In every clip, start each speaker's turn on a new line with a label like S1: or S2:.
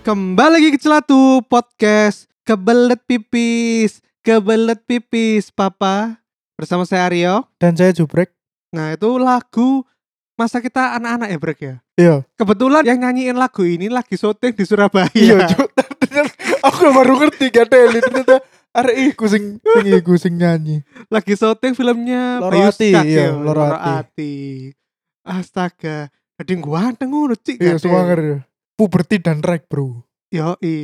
S1: Kembali lagi ke Celatu Podcast Kebelet Pipis Kebelet Pipis Papa Bersama saya Aryo
S2: dan saya jubrek
S1: Nah itu lagu Masa kita anak-anak ya Brek ya
S2: iya
S1: Kebetulan yang nyanyiin lagu ini lagi syuting di Surabaya
S2: iya Cuk. aku baru ngerti gak ada Eli. ternyata arek iku sing sing iku sing nyanyi
S1: Lagi syuting filmnya
S2: Loro
S1: Bayu
S2: Ati,
S1: Skak
S2: iya,
S1: ya,
S2: Loro
S1: Loro
S2: Ati.
S1: Ati. Astaga Ada yang ganteng ngono cik
S2: iya
S1: ganteng.
S2: semua ngerti puberti dan rek bro
S1: Yoi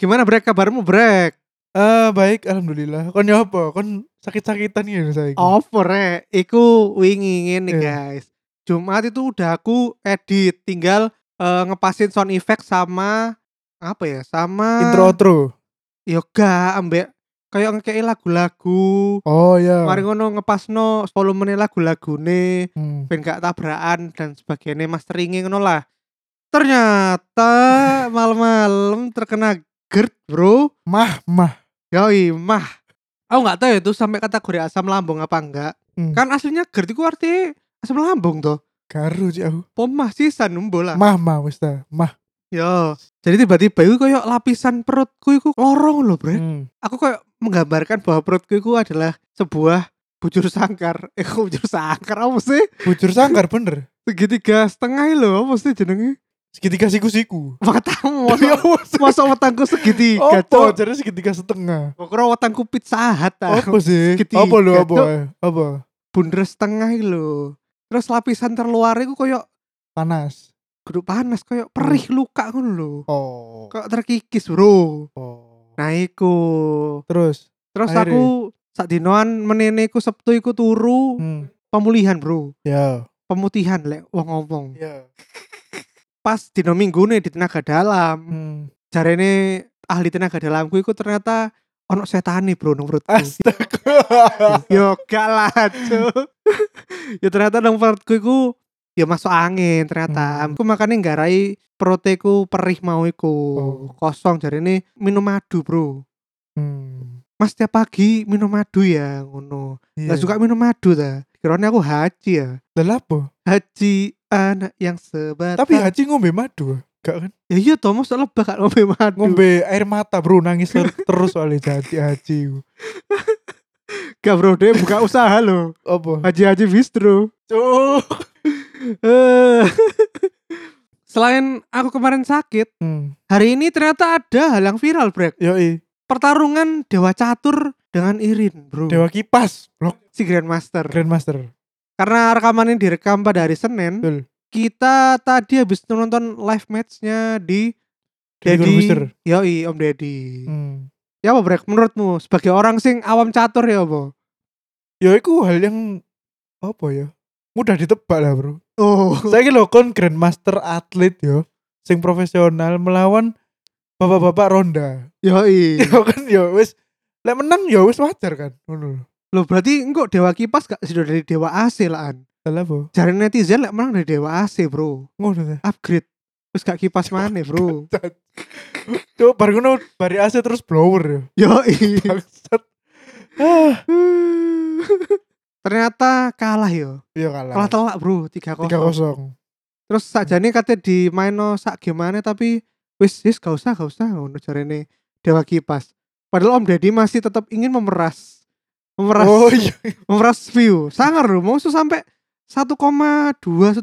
S1: Gimana Brek kabarmu Brek
S2: eh baik alhamdulillah kon ya apa kon sakit-sakitan ya saya
S1: Over eh. Iku wingingin nih
S2: Iya.
S1: guys. Jumat itu udah aku edit, tinggal eh, ngepasin sound effect sama apa ya? Sama
S2: intro outro
S1: yoga ambek kayak ngekei lagu-lagu.
S2: oh iya
S1: Mari ngono ngepasno volumene lagu-lagune
S2: Hmm.
S1: ben gak tabrakan dan sebagainya masteringe ngono lah. Ternyata malam-malam terkena GERD, Bro.
S2: mah Ah, mah
S1: Yoi, mah. Aku nggak tahu ya itu sampai kategori asam lambung apa enggak.
S2: Hmm.
S1: Kan aslinya GERD itu artinya asam lambung tuh.
S2: garu sih aku
S1: Pomah sih numbo lah.
S2: Ah. mah mah wis ta mah
S1: Yo. Jadi tiba-tiba itu kayak lapisan perutku itu lorong loh, Bre.
S2: Hmm.
S1: Aku kayak menggambarkan bahwa perutku itu adalah sebuah bujur sangkar. Eh, kok bujur sangkar apa sih?
S2: bujur sangkar bener
S1: Segitiga setengah loh, apa sih jenenge?
S2: segitiga siku-siku
S1: Wetangmu
S2: Demi
S1: masa
S2: Allah, Iya, sih.
S1: masa wetangku segitiga,
S2: apa
S1: Cok.
S2: Oh. jadi segitiga setengah
S1: Kok kira wetangku pizza hut ah.
S2: apa sih
S1: segitiga,
S2: apa lo apa
S1: Cok.
S2: apa
S1: Bunder setengah loh. Terus lapisan terluar itu kayak
S2: panas
S1: geduk panas, kayak perih luka ngono lho.
S2: oh
S1: Kayak terkikis, Bro.
S2: oh
S1: Nah, iku.
S2: Terus,
S1: Terus
S2: Akhirnya?
S1: aku sak dinoan meneneku Sabtu iku turu
S2: hmm.
S1: pemulihan, Bro.
S2: ya,
S1: Pemutihan lek wong ngomong.
S2: ya,
S1: Pas dino minggune di tenaga dalam,
S2: hmm.
S1: jarene ahli tenaga dalamku iku ternyata ono setane, Bro, nang perutku.
S2: astaga,
S1: Yo gak lah, Cuk. ya ternyata nang perutku iku ya masuk angin ternyata.
S2: Hmm.
S1: Aku makane nggarai peruteku perih mau iku.
S2: Oh.
S1: Kosong jarene minum madu, Bro.
S2: hmm.
S1: Mas tiap pagi minum madu ya ngono.
S2: Iya,
S1: Gak suka minum madu ta. Kiranya aku haji ya.
S2: Lah apa?
S1: Haji anak yang sebat.
S2: Tapi Haji ngombe madu, gak kan?
S1: ya iya toh masa lebah gak ngombe madu.
S2: Ngombe air mata bro, nangis ter- terus soalnya jadi Haji. ah.
S1: Gak bro deh buka usaha loh.
S2: Apa?
S1: Haji-haji bistro.
S2: Cuk.
S1: Eh. Selain aku kemarin sakit,
S2: Hmm.
S1: hari ini ternyata ada hal yang viral, Brek.
S2: Yoi,
S1: Pertarungan Dewa Catur dengan Irin, Bro.
S2: Dewa Kipas, blok
S1: Si Grandmaster.
S2: Grandmaster.
S1: Karena rekaman ini direkam pada hari Senin.
S2: Betul.
S1: Kita tadi habis nonton live match-nya di
S2: Deddy Corbuzier.
S1: Yoi, Om Deddy.
S2: Hmm.
S1: Ya apa Brek menurutmu sebagai orang sing awam catur ya apa?
S2: Ya itu hal yang apa ya? Mudah ditebak lah bro.
S1: Oh.
S2: Saya lho kon Grandmaster atlet yo, sing profesional melawan bapak-bapak ronda.
S1: Yoi.
S2: ya kan ya wis lek menang ya wis wajar kan ngono lho
S1: Loh berarti engko Dewa Kipas gak sudah dari Dewa AC laan.
S2: salah apa
S1: Jare netizen lek menang dari Dewa AC, Bro.
S2: ngono ta
S1: Upgrade. Terus gak kipas mana, Bro?
S2: coba bar ngono bari AC terus blower
S1: Iya.
S2: ya
S1: Yoi.
S2: bangsat ah
S1: Ternyata kalah yo.
S2: iya
S1: Kalah
S2: kalah
S1: telak, Bro, 3-0.
S2: tiga kosong
S1: Terus sakjane kate di maino sak gimana tapi wis wis gak usah gak usah ngono jarene Dewa Kipas. Padahal Om Deddy masih tetap ingin memeras memeras
S2: oh iya
S1: memeras view sangar loh mau sampai 1,2 1,3 juta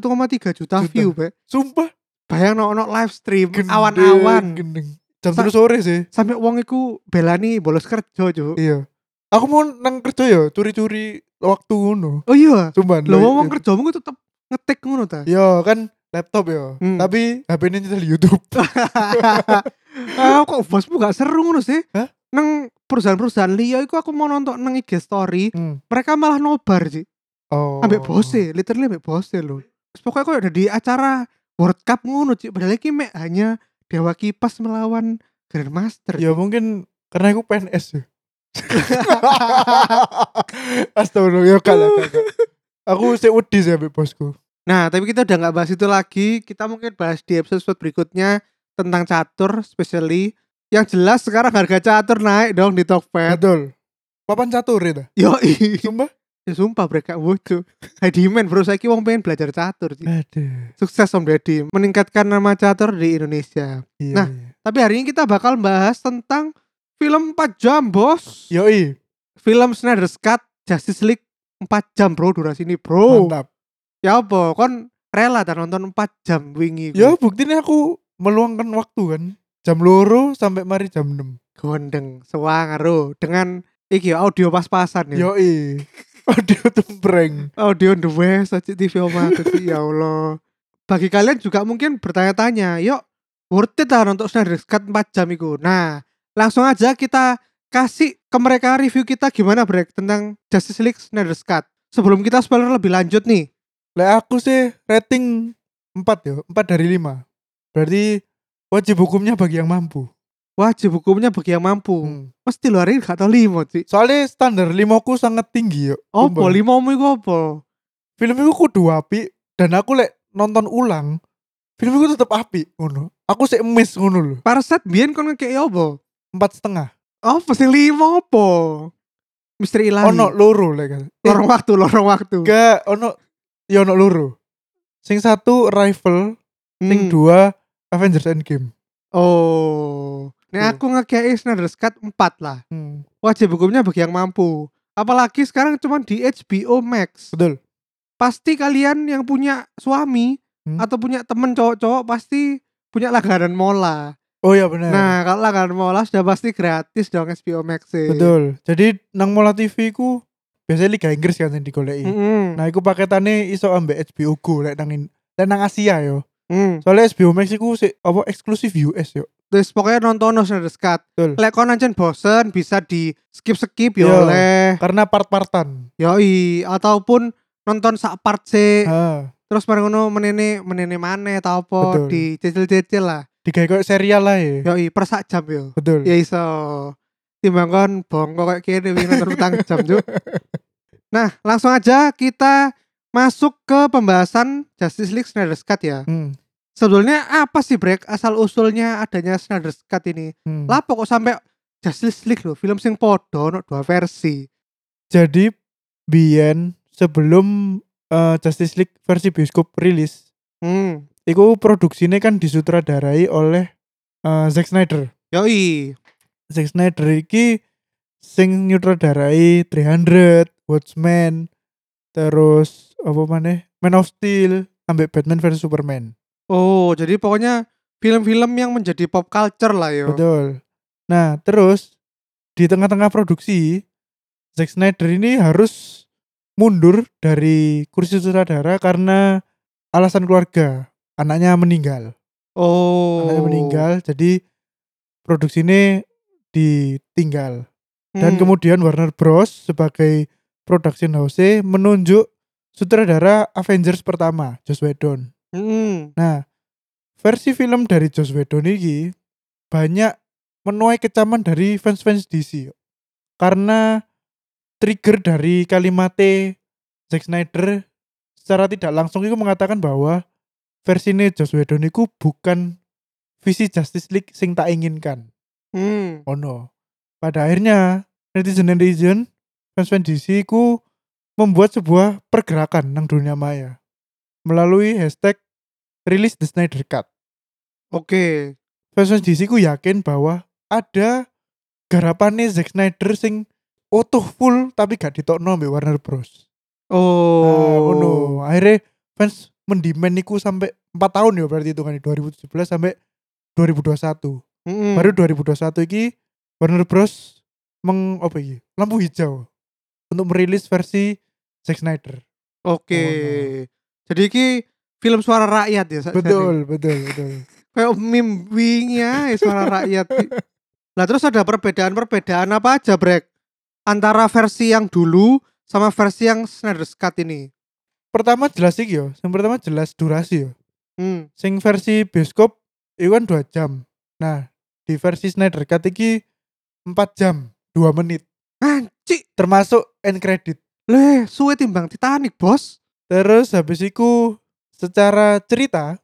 S2: Juta.
S1: view be
S2: sumpah
S1: bayang no, no live stream
S2: gendeng,
S1: awan-awan
S2: gendeng jam
S1: Sa-
S2: terus sore sih
S1: sampai wong iku belani bolos kerja cuk
S2: iya aku mau nang kerja ya curi-curi waktu ngono
S1: oh iya
S2: sumpah
S1: lo wong kerjamu ku tetep ngetik ngono ta
S2: iya kan laptop ya
S1: Hmm.
S2: tapi HP ini nyetel YouTube
S1: ah kok bosmu gak seru ngono sih
S2: Hah?
S1: nang perusahaan-perusahaan liya iku aku mau nonton nang IG story
S2: Hmm.
S1: mereka malah nobar sih
S2: oh
S1: ambek bose literally ambek bose lho Terus pokoknya kok ada di acara World Cup ngono sih padahal iki mek hanya Dewa Kipas melawan Grandmaster
S2: Ya mungkin karena aku PNS ya. Astagfirullah ya kalah kakak. Aku sih wedi sih ambek bosku.
S1: Nah, tapi kita udah nggak bahas itu lagi. Kita mungkin bahas di episode berikutnya tentang catur, specially. Yang jelas sekarang harga catur naik dong di Tokped.
S2: Betul. Papan catur itu.
S1: Yoi.
S2: Sumpah.
S1: Ya sumpah mereka wucu. Hai Dimen, bro saya wong pengen belajar catur. Ci.
S2: Aduh.
S1: Sukses Om Deddy meningkatkan nama catur di Indonesia.
S2: Iya.
S1: Nah.
S2: iya.
S1: Tapi hari ini kita bakal bahas tentang film 4 jam, Bos.
S2: Yoi,
S1: Film Snyder's Cut Justice League 4 jam, Bro, durasi ini, Bro.
S2: mantap.
S1: Ya apa, kon rela ta nonton 4 jam wingi.
S2: Ya buktinya aku meluangkan waktu kan. Jam loro sampai mari jam 6.
S1: gondeng sewangero dengan iki audio
S2: Iya.
S1: pas-pasan ya.
S2: Yoi. Audio tumbreng.
S1: Audio the west aja TV oma ya Allah. Bagi kalian juga mungkin bertanya-tanya, yuk worth it lah untuk Snyder's Cut 4 jam itu. Nah, langsung aja kita kasih ke mereka review kita gimana Brek tentang Justice League Snyder's Cut. Sebelum kita spoiler lebih lanjut nih,
S2: Lah aku sih rating 4 ya, 4 dari 5. Berarti wajib hukumnya bagi yang mampu.
S1: wajib hukumnya bagi yang mampu.
S2: Hmm.
S1: Mesti luar ini gak tau limo sih.
S2: Soalnya standar limoku sangat tinggi ya. yo.
S1: Opo
S2: Sumpah.
S1: limo mu iku opo?
S2: film itu kudu api dan aku lek nonton ulang film itu tetep api ngono aku sih miss ngono lho
S1: Parset biyen kon ngekek opo?
S2: empat setengah
S1: Opo sih limo opo? Misteri ilahi.
S2: ono loro lek kan Eh,
S1: lorong waktu lorong waktu
S2: enggak ono ya ono loro sing satu rival
S1: Hmm.
S2: sing dua Avengers Endgame
S1: oh
S2: Tuh.
S1: nah aku ngekei Snyder's Cut 4 lah
S2: hmm.
S1: wajib hukumnya bagi yang mampu apalagi sekarang cuma di HBO Max
S2: betul
S1: pasti kalian yang punya suami
S2: Hmm.
S1: atau punya temen cowok-cowok pasti punya langganan mola
S2: oh ya benar
S1: nah kalau langganan mola sudah pasti gratis dong HBO Max -e.
S2: betul jadi nang mola TV ku biasanya Liga Inggris kan yang digoleki
S1: Mm-mm.
S2: nah iku paketane iso ambek HBO Go lek nang in- lek nang Asia yo
S1: Mm.
S2: soalnya HBO Max iku sik apa eksklusif US yo
S1: Terus pokoknya nonton no Snyder's Cut
S2: Betul. Iya.
S1: Lek kon ancen bosen bisa di skip-skip ya
S2: Yo.
S1: oleh
S2: karena part-partan
S1: Yoi Ataupun nonton sak part sih
S2: Ah,
S1: terus bareng ngono menene menene maneh tau apa
S2: Betul.
S1: dicicil-cicil lah
S2: digawe koyo serial lah ya.
S1: yoi per sak jam yo
S2: Betul.
S1: ya iso timbang kon bongko kayak kene wingi nonton petang jam Cuk. nah langsung aja kita masuk ke pembahasan Justice League Snyder's Cut ya
S2: Hmm,
S1: sebetulnya apa sih break asal usulnya adanya Snyder's Cut ini
S2: hmm.
S1: lah pokok sampai Justice League loh film sing podo no dua versi
S2: Jadi Bian sebelum eh, Justice League versi bioskop rilis,
S1: hmm
S2: itu produksinya kan disutradarai oleh eh, Zack Snyder.
S1: yoi
S2: Zack Snyder iki sing nyutradarai 300, Watchmen, terus apa maneh? Man of Steel, ambek Batman versus Superman.
S1: oh jadi pokoknya film-film yang menjadi pop culture lah yo
S2: Betul. Nah, terus di tengah-tengah produksi Zack Snyder ini harus mundur dari kursi sutradara karena alasan keluarga. Anaknya meninggal.
S1: Oh.
S2: Anaknya meninggal, jadi produksi ini ditinggal. Dan
S1: Hmm.
S2: kemudian Warner Bros sebagai production house menunjuk sutradara Avengers pertama, Joss Whedon.
S1: Hmm.
S2: Nah, versi film dari Joss Whedon ini banyak menuai kecaman dari fans-fans DC yo. karena trigger dari kalimat Zack Snyder secara tidak langsung itu mengatakan bahwa versi ini Joss Whedon itu bukan visi Justice League sing tak inginkan.
S1: Hmm.
S2: Oh no. Pada akhirnya netizen-netizen fans-fans DC ku membuat sebuah pergerakan nang dunia maya melalui hashtag release the Snyder Cut.
S1: Oke.
S2: Fans-fans DC ku yakin bahwa ada garapane Zack Snyder sing utuh full tapi gak ditokno mbek Warner Bros.
S1: Oh.
S2: oh no. Akhirnya fans mendemand iku sampai 4 tahun ya berarti itu kan 2017 sampai 2021.
S1: Mm-mm.
S2: baru 2021 iki Warner Bros meng apa iki lampu hijau untuk merilis versi Zack Snyder
S1: Oke.
S2: Oh, no.
S1: Jadi ki film suara rakyat ya. Sak-
S2: betul betul
S1: jadi.
S2: betul
S1: Kayak meme wingi ae suara rakyat. Lah terus ada perbedaan-perbedaan apa aja, Brek? Antara versi yang dulu sama versi yang Snyder's Cut ini.
S2: pertama jelas iki yo yang pertama jelas durasi yo
S1: Hmm.
S2: sing versi bioskop itu kan 2 jam nah di versi Snyder Cut iki 4 jam 2 menit
S1: Anci,
S2: termasuk end credit
S1: leh, suwe timbang Titanic, Bos.
S2: terus habis iku secara cerita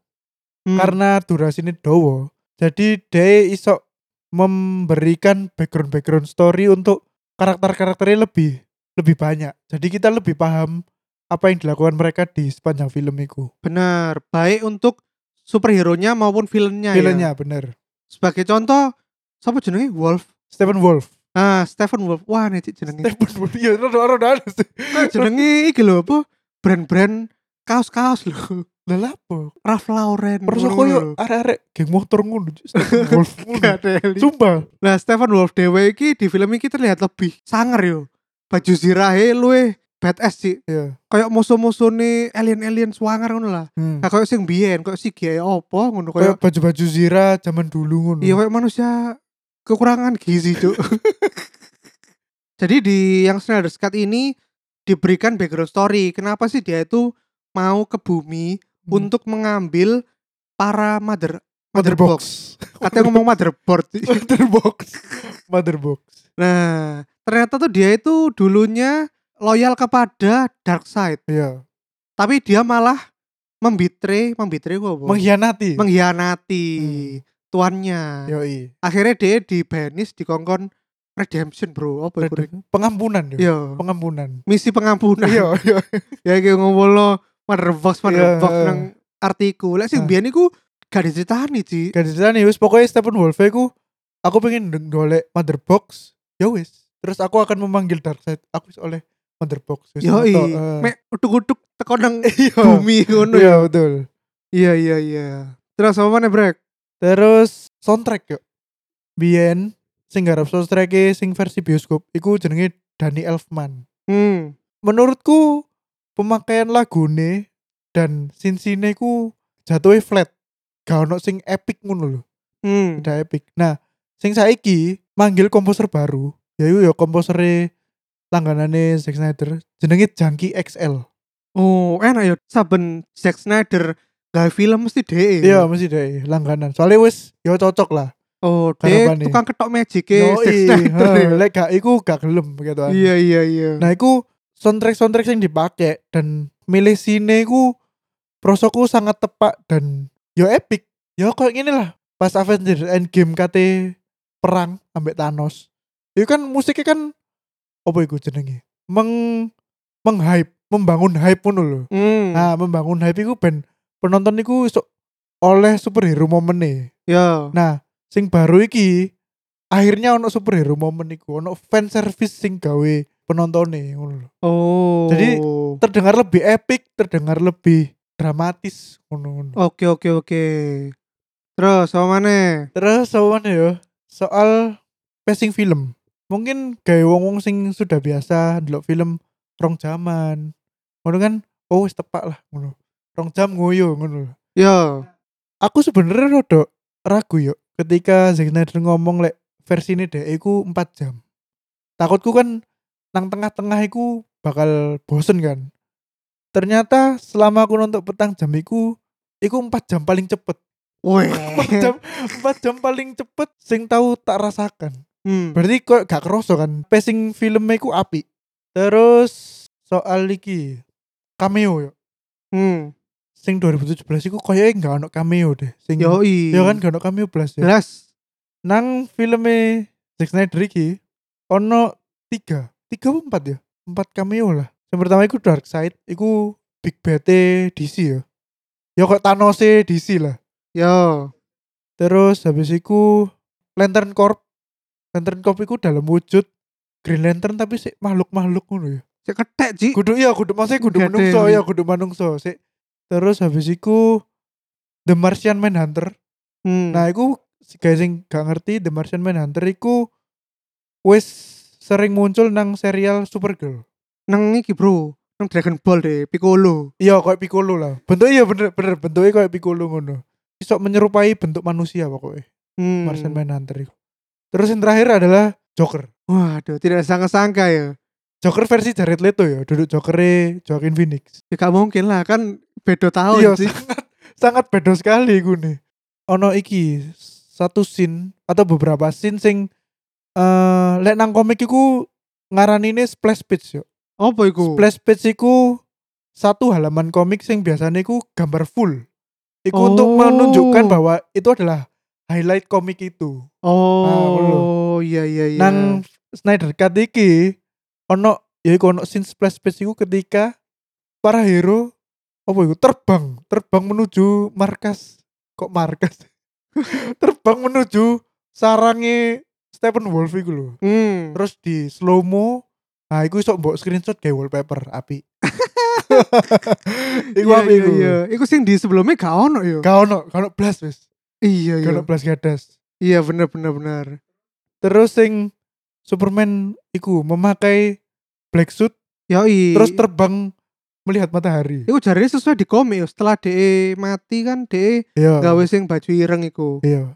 S1: Hmm.
S2: karena durasi ini dowo jadi dia iso memberikan background background story untuk karakter karakternya lebih lebih banyak jadi kita lebih paham apa yang dilakukan mereka di sepanjang film itu
S1: benar, baik untuk superhero-nya maupun villain-nya. ya.
S2: filmnya bener
S1: sebagai contoh siapa jenenge Wolf
S2: Stephen Wolf
S1: ah Stephen Wolf wah nih Cik, jenenge
S2: Stephen Wolf iya rodo rodo ada sih
S1: Kok jenenge iki lho apa brand-brand kaos-kaos lho
S2: lah apa
S1: Ralph Lauren
S2: perso koyo arek-arek geng motor ngono Cuk. Stephen Wolf ngono.
S1: Gadeli.
S2: sumpah
S1: Nah, Stephen Wolf dewe iki di film iki terlihat lebih sangar yo. Baju zirahe luwe badass sih.
S2: ya
S1: Kayak musuh-musuhne alien-alien swangar ngono lah.
S2: hmm.
S1: Nah, kayak sing biyen, kayak si Gia opo ngono kayak
S2: Kayak baju-baju Zira zaman dulu ngono
S1: iya kayak manusia kekurangan gizi, Cuk. Jadi di yang Snyder Cut ini diberikan background story. Kenapa sih dia itu mau ke bumi
S2: Hmm.
S1: untuk mengambil para mother
S2: motherbox
S1: Katanya ngomong motherboard. sih.
S2: Iya, motherbox motherbox
S1: Nah, ternyata tuh dia itu dulunya loyal kepada dark side,
S2: ya
S1: tapi dia malah membitre, membitre gua apa?
S2: mengkhianati Hmm.
S1: mengkhianati tuannya.
S2: Ya yoi
S1: Akhirnya dia di banish di kongkon redemption, Bro. Apa iku?
S2: pengampunan yo
S1: Yo,
S2: pengampunan
S1: misi pengampunan.
S2: iya iya
S1: ya kayak ngomong lo motherbox motherbox
S2: Iya.
S1: nang artiku. Lek sing
S2: Ah.
S1: biyen iku gak diceritani, Ci.
S2: gak diceritani wis pokoknya Stephen Wolf aku aku pengen deng- golek motherbox ya wis terus aku akan memanggil Darkseid aku wis oleh motherbox wis
S1: Yo,
S2: mentok, eh.
S1: mek utuk-utuk teko nang
S2: iya
S1: bumi ngono.
S2: iya betul
S1: Iya, iya, iya. Terus apa nih, Brek?
S2: terus soundtrack yo Bien sing garap soundtrack e, sing versi bioskop iku jenenge Danny Elfman
S1: Hmm.
S2: menurutku pemakaian lagune dan sinsine ku jatuhnya flat gak ono sing epic ngono lho
S1: Hmm.
S2: udah epic nah sing saiki manggil komposer baru yaiku ya komposer langganane Zack Snyder jenenge Junkie XL
S1: Oh, enak ya saben Zack Snyder gawe film mesti DE.
S2: iya mesti deh langganan soalnya wis ya cocok lah
S1: Oh, DE
S2: Garapane.
S1: tukang ketok magic Zack
S2: Yoi,
S1: Snyder.
S2: ha,
S1: ya.
S2: lek gak iku gak gelem gitu kan.
S1: Iya, iya, iya.
S2: Nah, iku soundtrack-soundtrack yang dipakai dan milih sine iku prosoku sangat tepat dan yo epic. Yo kayak gini lah. Pas Avengers Endgame kate perang ambek Thanos. Itu kan musiknya kan apa iku jenenge? Meng menghype, membangun hype ngono lho.
S1: Hmm.
S2: Nah, membangun hype iku ben penonton iku iso oleh superhero momen
S1: ya.
S2: Nah, sing baru iki akhirnya ono superhero momen iku, ono fan service sing gawe penontonnya ngono lho.
S1: Oh.
S2: Jadi- terdengar lebih epic, terdengar lebih dramatis ngono. ngono.
S1: oke oke oke. Terus sama mana?
S2: Terus sowan ya soal pacing film. Mungkin gawe wong-wong sing sudah biasa ndelok film rong jaman. Ngono kan oh wis tepak lah ngono. Rong jam ngoyo ngono. lho.
S1: Ya.
S2: Aku sebenarnya rada ragu yo ketika Zack Snyder ngomong lek versi ini deh iku 4 jam. Takutku kan nang tengah-tengah iku bakal bosen kan. Ternyata selama aku nonton petang jam iku iku 4 jam paling cepet.
S1: Weh.
S2: 4 jam, 4 jam paling cepet sing tahu tak rasakan.
S1: Hmm.
S2: Berarti kok gak kerasa kan pacing filmnya iku apik. Terus soal iki cameo yo.
S1: Hmm.
S2: Sing 2017 iku koyoke gak ono cameo deh. Sing
S1: Yoi.
S2: Ya kan gak ono cameo belas ya.
S1: Jelas.
S2: nang filmnya Zack Snyder iki ono tiga tiga apa empat ya empat cameo lah yang pertama itu Dark Side itu Big Bad DC ya ya kok Thanos DC lah
S1: Yo.
S2: terus habis itu Lantern Corp Lantern Corp itu dalam wujud Green Lantern tapi sih makhluk-makhluk ngono ya
S1: Cek ketek, Ci.
S2: kudu iya kudu maksudnya kudu
S1: Gading.
S2: manungso ya kudu manungso sih terus habis itu The Martian Manhunter
S1: Hmm.
S2: Nah, iku guys sing gak ngerti The Martian Manhunter iku wis sering muncul nang serial Supergirl.
S1: nang iki, Bro. Nang Dragon Ball deh, Piccolo.
S2: Iya, kayak Piccolo lah. Bentuknya iya bener bener bentuknya kayak Piccolo ngono. Iso menyerupai bentuk manusia pokoknya
S1: Hmm.
S2: Martian Manhunter iku. Terus yang terakhir adalah Joker.
S1: Waduh, tidak sangka-sangka ya.
S2: Joker versi Jared Leto ya, duduk Jokernya Joaquin Phoenix.
S1: Ya gak mungkin lah kan beda tahun
S2: iya,
S1: sih.
S2: sangat sangat beda sekali iku nih. Ono iki satu scene atau beberapa scene sing eh lek nang komik iku ngaranine splash page yo.
S1: Apa iku?
S2: Splash page iku satu halaman komik sing biasanya iku gambar full. Iku
S1: Oh.
S2: untuk menunjukkan bahwa itu adalah highlight komik itu.
S1: Oh, iya iya iya.
S2: Nah, Nang Snyder Cut iki ono ya iku ono scene splash page iku ketika para hero apa iku terbang, terbang menuju markas kok markas terbang menuju sarangnya Stephen Wolf iku lho.
S1: Hmm.
S2: Terus di slow mo, nah iku iso mbok screenshot kayak wallpaper api. iku
S1: Iya,
S2: api
S1: iya,
S2: iku.
S1: iya. Iku sing di sebelumnya gak ono yo.
S2: Gak ono, gak ono blas wis.
S1: Iya
S2: Gak
S1: iya.
S2: ono blas gadas.
S1: Iya bener bener bener.
S2: Terus sing Superman iku memakai black suit
S1: Yoi.
S2: terus terbang melihat matahari.
S1: Iku jarine sesuai di komik yo. Setelah DE mati kan DE gawe
S2: Iya.
S1: sing baju ireng iku.
S2: Iya.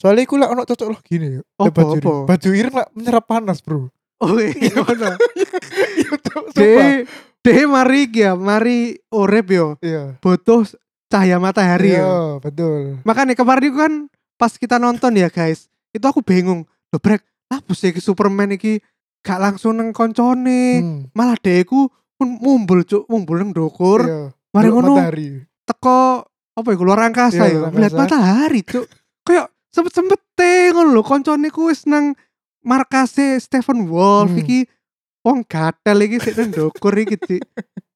S2: Soalnya iku lah ono cocok loh gini ya.
S1: Apa,
S2: baju
S1: apa?
S2: ireng. Baju ireng lah menyerap panas, Bro.
S1: Oh iya bener.
S2: Iya, Cok, sumpah.
S1: DE DE mari iki ya, mari urip yo.
S2: Iya.
S1: Butuh cahaya matahari yo.
S2: Iya, betul.
S1: Makanya kemarin itu kan pas kita nonton ya guys, itu aku bingung. Loh brek, lapus iki Superman iki gak langsung neng koncone,
S2: Hmm.
S1: malah deku mumbul cuk, mumbul neng dokur.
S2: Iya.
S1: Mari
S2: Dulu
S1: ngono
S2: matahari.
S1: teko apa ya luar angkasa
S2: Iya,
S1: ya,
S2: luar
S1: melihat
S2: angkasa.
S1: matahari cuk. Kayak sempet-sempet ngono lho koncone ku wis nang markase Stephen Wolf
S2: Hmm.
S1: iki wong gatel iki sik neng dokur iki Cik.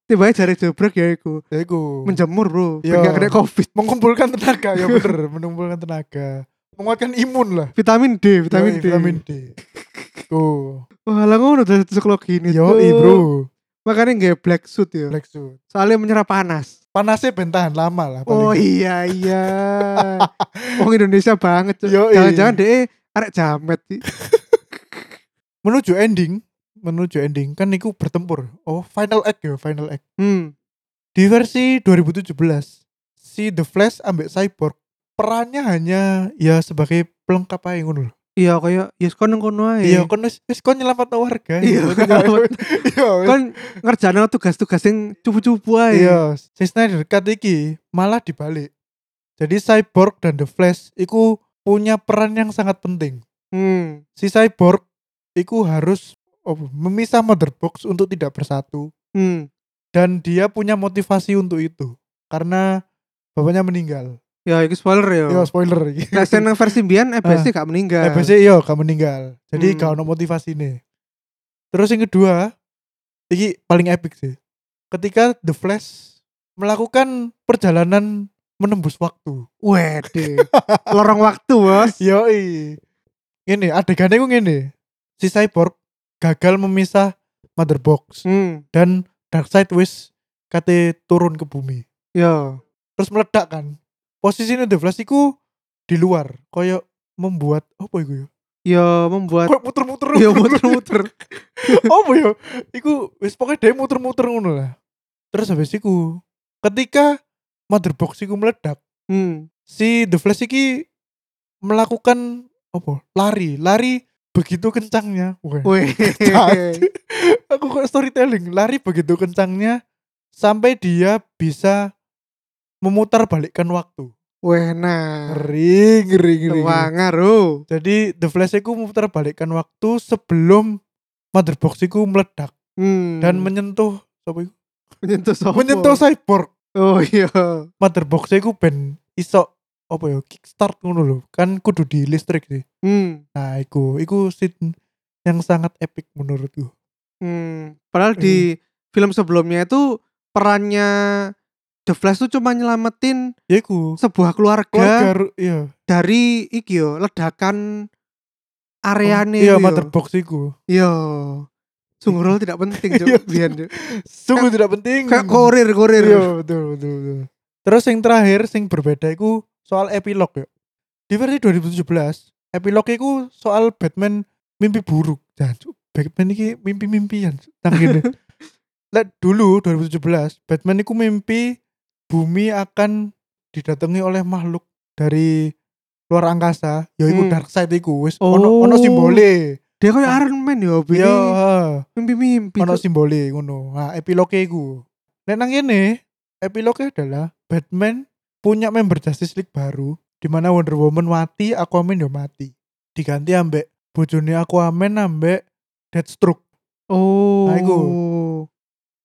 S1: Tiba-tiba jari jebrek ya iku
S2: Ya iku.
S1: menjemur bro,
S2: Iya.
S1: biar gak kena covid.
S2: mengumpulkan tenaga ya bener, mengumpulkan tenaga. Menguatkan imun lah.
S1: Vitamin D, vitamin
S2: Yoi,
S1: D.
S2: Vitamin D. Tuh.
S1: Wah, lah ngono dari psikologi ini.
S2: Yo,
S1: Cuk.
S2: bro.
S1: Makanya nggak black suit ya.
S2: Black suit.
S1: Soalnya menyerap panas.
S2: Panasnya bentahan lama lah
S1: Oh
S2: paling.
S1: iya iya. Wong Indonesia banget. Cuk.
S2: Yoi.
S1: Jangan-jangan deh arek jamet. Ci.
S2: Menuju ending, menuju ending kan niku bertempur. Oh, final act ya, final act.
S1: Hmm.
S2: Di versi 2017, si The Flash ambek Cyborg perannya hanya ya sebagai pelengkap aja ngono lho.
S1: Iya kayak yes kon nang kono ae.
S2: Iya, kon wis wis kon nyelamat warga.
S1: Iya, nyelamat.
S2: Iya, wis.
S1: Kon ngerjana tugas-tugas yang cupu-cupu ae.
S2: Iya, si Snyder Cut iki malah dibalik. Jadi Cyborg dan The Flash iku punya peran yang sangat penting.
S1: Hmm.
S2: Si Cyborg iku harus apa, memisah Motherbox untuk tidak bersatu
S1: Hmm.
S2: dan dia punya motivasi untuk itu karena bapaknya meninggal.
S1: Ya iki spoiler ya.
S2: Yo Iya, spoiler Ah. iki.
S1: Nah, sing nang versi mbiyen EBC gak meninggal.
S2: EBC yo gak meninggal.
S1: Iya.
S2: Jadi
S1: Hmm.
S2: gak ono motivasi nih. Terus yang kedua, iki paling epic sih. Ketika The Flash melakukan perjalanan menembus waktu.
S1: Wede. Lorong waktu, Bos.
S2: Iya. Yoi. Ini adegannya gue gini. Si Cyborg gagal memisah Mother Box
S1: Hmm.
S2: dan Darkseid wis kate turun ke bumi.
S1: Yo.
S2: Terus meledak kan. Posisinya The Flash iku di luar, koyo membuat apa iku ya?
S1: Yo membuat
S2: Koyo muter-muter.
S1: yo Iya, muter-muter.
S2: apa ya? Iku wis pokoknya dia muter-muter ngono lah. Terus habis iku ketika Mother Box iku meledak,
S1: Hmm.
S2: si The Flash iki melakukan apa? Lari, lari begitu kencangnya. Wah.
S1: Weh.
S2: aku kok storytelling lari begitu kencangnya sampai dia bisa memutar balikkan waktu
S1: Weh nah.
S2: ngeri ngeri ngeri, ngeri.
S1: Wangar oh.
S2: jadi The Flash itu memutar balikkan waktu sebelum Mother Box itu meledak
S1: Hmm.
S2: dan menyentuh apa itu?
S1: menyentuh sopo.
S2: menyentuh cyborg
S1: Oh iya.
S2: Mother Box itu ben iso apa ya kickstart ngono lho kan kudu di listrik sih
S1: Hmm.
S2: nah iku iku scene yang sangat epic menurutku
S1: Hmm. Padahal di film sebelumnya itu perannya The Flash tuh cuma nyelamatin
S2: ya iku
S1: sebuah keluarga,
S2: keluarga ru- iya
S1: dari iki yo ledakan areane iku
S2: iya
S1: yo.
S2: Mother Box iku
S1: Yo. Sungguh rol tidak penting
S2: Iya.
S1: Cuk biyen Cuk.
S2: sungguh tidak penting
S1: Kayak korir korir.
S2: Iya, betul, betul, betul. Terus yang terakhir sing berbeda iku soal epilog ya. Di versi 2017, epilog iku soal Batman mimpi buruk. Dan Batman iki mimpi-mimpian. Nah, gini. Lah, dulu 2017, Batman iku mimpi bumi akan didatangi oleh makhluk dari luar angkasa, yaiku
S1: Hmm.
S2: Darkseid iku wis
S1: Oh.
S2: ono Iya, ono simbole.
S1: Dia kayak Iron Man yo hobi ini.
S2: Yo, heeh
S1: mimpi-mimpi.
S2: ono
S1: Cuk.
S2: simbole ngono. Nah, epiloge iku. Nek nang kene, epiloge adalah Batman punya member Justice League baru di mana Wonder Woman mati, Aquaman yo mati. Diganti ambek bojone Aquaman ambek Deathstroke.
S1: Oh.
S2: Nah, iku.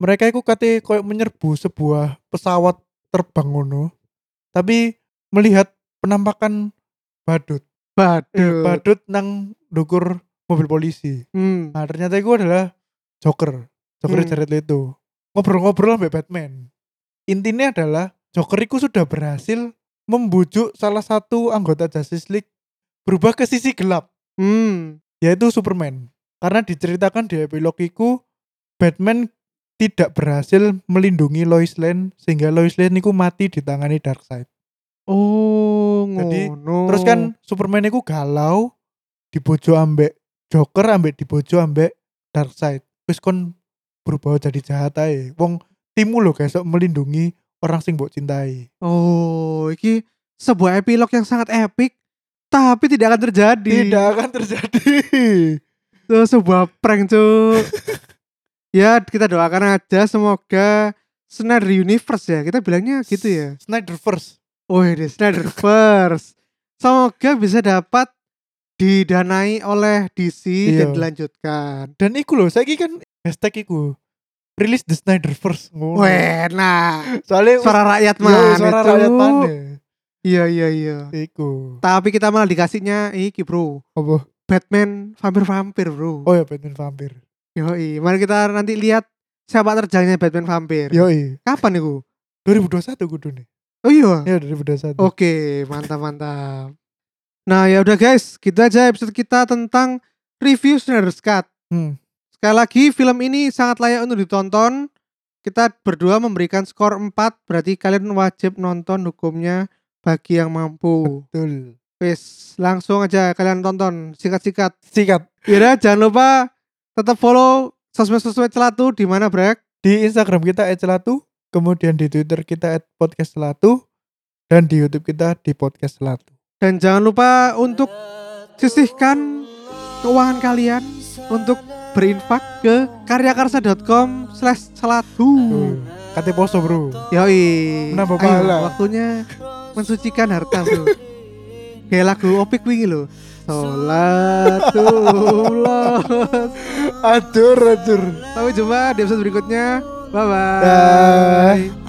S2: Mereka iku kate koyo menyerbu sebuah pesawat terbang ngono. Tapi melihat penampakan badut. Eh,
S1: Badut.
S2: badut nang dukur mobil polisi.
S1: Hmm.
S2: Nah ternyata gue adalah Joker Joker
S1: Hmm.
S2: Jared Leto Ngobrol-ngobrol sama Batman Intinya adalah Joker itu sudah berhasil membujuk salah satu anggota Justice League berubah ke sisi gelap Nah.
S1: Hmm.
S2: yaitu Superman. Karena diceritakan di epilog itu Batman tidak berhasil melindungi Lois Lane sehingga Lois Lane itu mati ditangani Darkseid.
S1: Oh,
S2: Jadi,
S1: ngono.
S2: Terus kan Superman itu galau dibojo ambek Joker ambek dibojo ambek Darkseid. Terus kon berubah jadi jahat ae. Wong timu lo besok melindungi orang sing mbok cintai.
S1: Oh, iki sebuah epilog yang sangat epic tapi tidak akan terjadi.
S2: Tidak akan terjadi.
S1: Itu sebuah prank, Cuk. ya, kita doakan aja semoga Snyder Universe ya. Kita bilangnya gitu ya.
S2: Snyderverse.
S1: Oh, ini Snyderverse. semoga bisa dapat didanai oleh DC dan
S2: Iya.
S1: dilanjutkan.
S2: Dan iku loh, saya kan hashtag iku. Release the Snyderverse. Ngono.
S1: Weh, nah.
S2: Soalnya
S1: Suara rakyat
S2: Yo,
S1: mana?
S2: iya, suara
S1: Cuk?
S2: rakyat mana?
S1: Iya, iya, iya.
S2: Iku.
S1: Tapi kita malah dikasihnya iki, Bro.
S2: Apa?
S1: Batman vampir-vampir, Bro.
S2: Oh ya Batman vampir.
S1: Yoi, mari kita nanti lihat siapa terjangnya Batman vampir.
S2: Yo i.
S1: Kapan itu?
S2: 2021 kudu nih.
S1: Oh iya.
S2: Ya 2021.
S1: Oke, mantap-mantap. Nah, ya udah guys, gitu aja episode kita tentang review Snyder's Cut.
S2: Hmm.
S1: Sekali lagi, film ini sangat layak untuk ditonton. Kita berdua memberikan skor 4, berarti kalian wajib nonton hukumnya bagi yang mampu.
S2: Betul.
S1: Wis, langsung aja kalian tonton, sikat-sikat.
S2: Sikat
S1: Yaudah, jangan lupa tetap follow sosmed-sosmed celatu di mana, Brek?
S2: di Instagram kita @celatu, kemudian di Twitter kita @podcastcelatu dan di YouTube kita di podcast celatu.
S1: Dan jangan lupa untuk sisihkan keuangan kalian untuk berinfak ke karyakarsa.com slash
S2: Betul.
S1: selatu.
S2: Kate poso, Bro.
S1: Yoi.
S2: Menambah
S1: Ayo,
S2: pahala.
S1: waktunya mensucikan harta, bro. Kayak lagu Opik wingi lho. Salatullah.
S2: Atur, atur.
S1: Sampai jumpa di episode berikutnya. Bye-bye.
S2: Dah.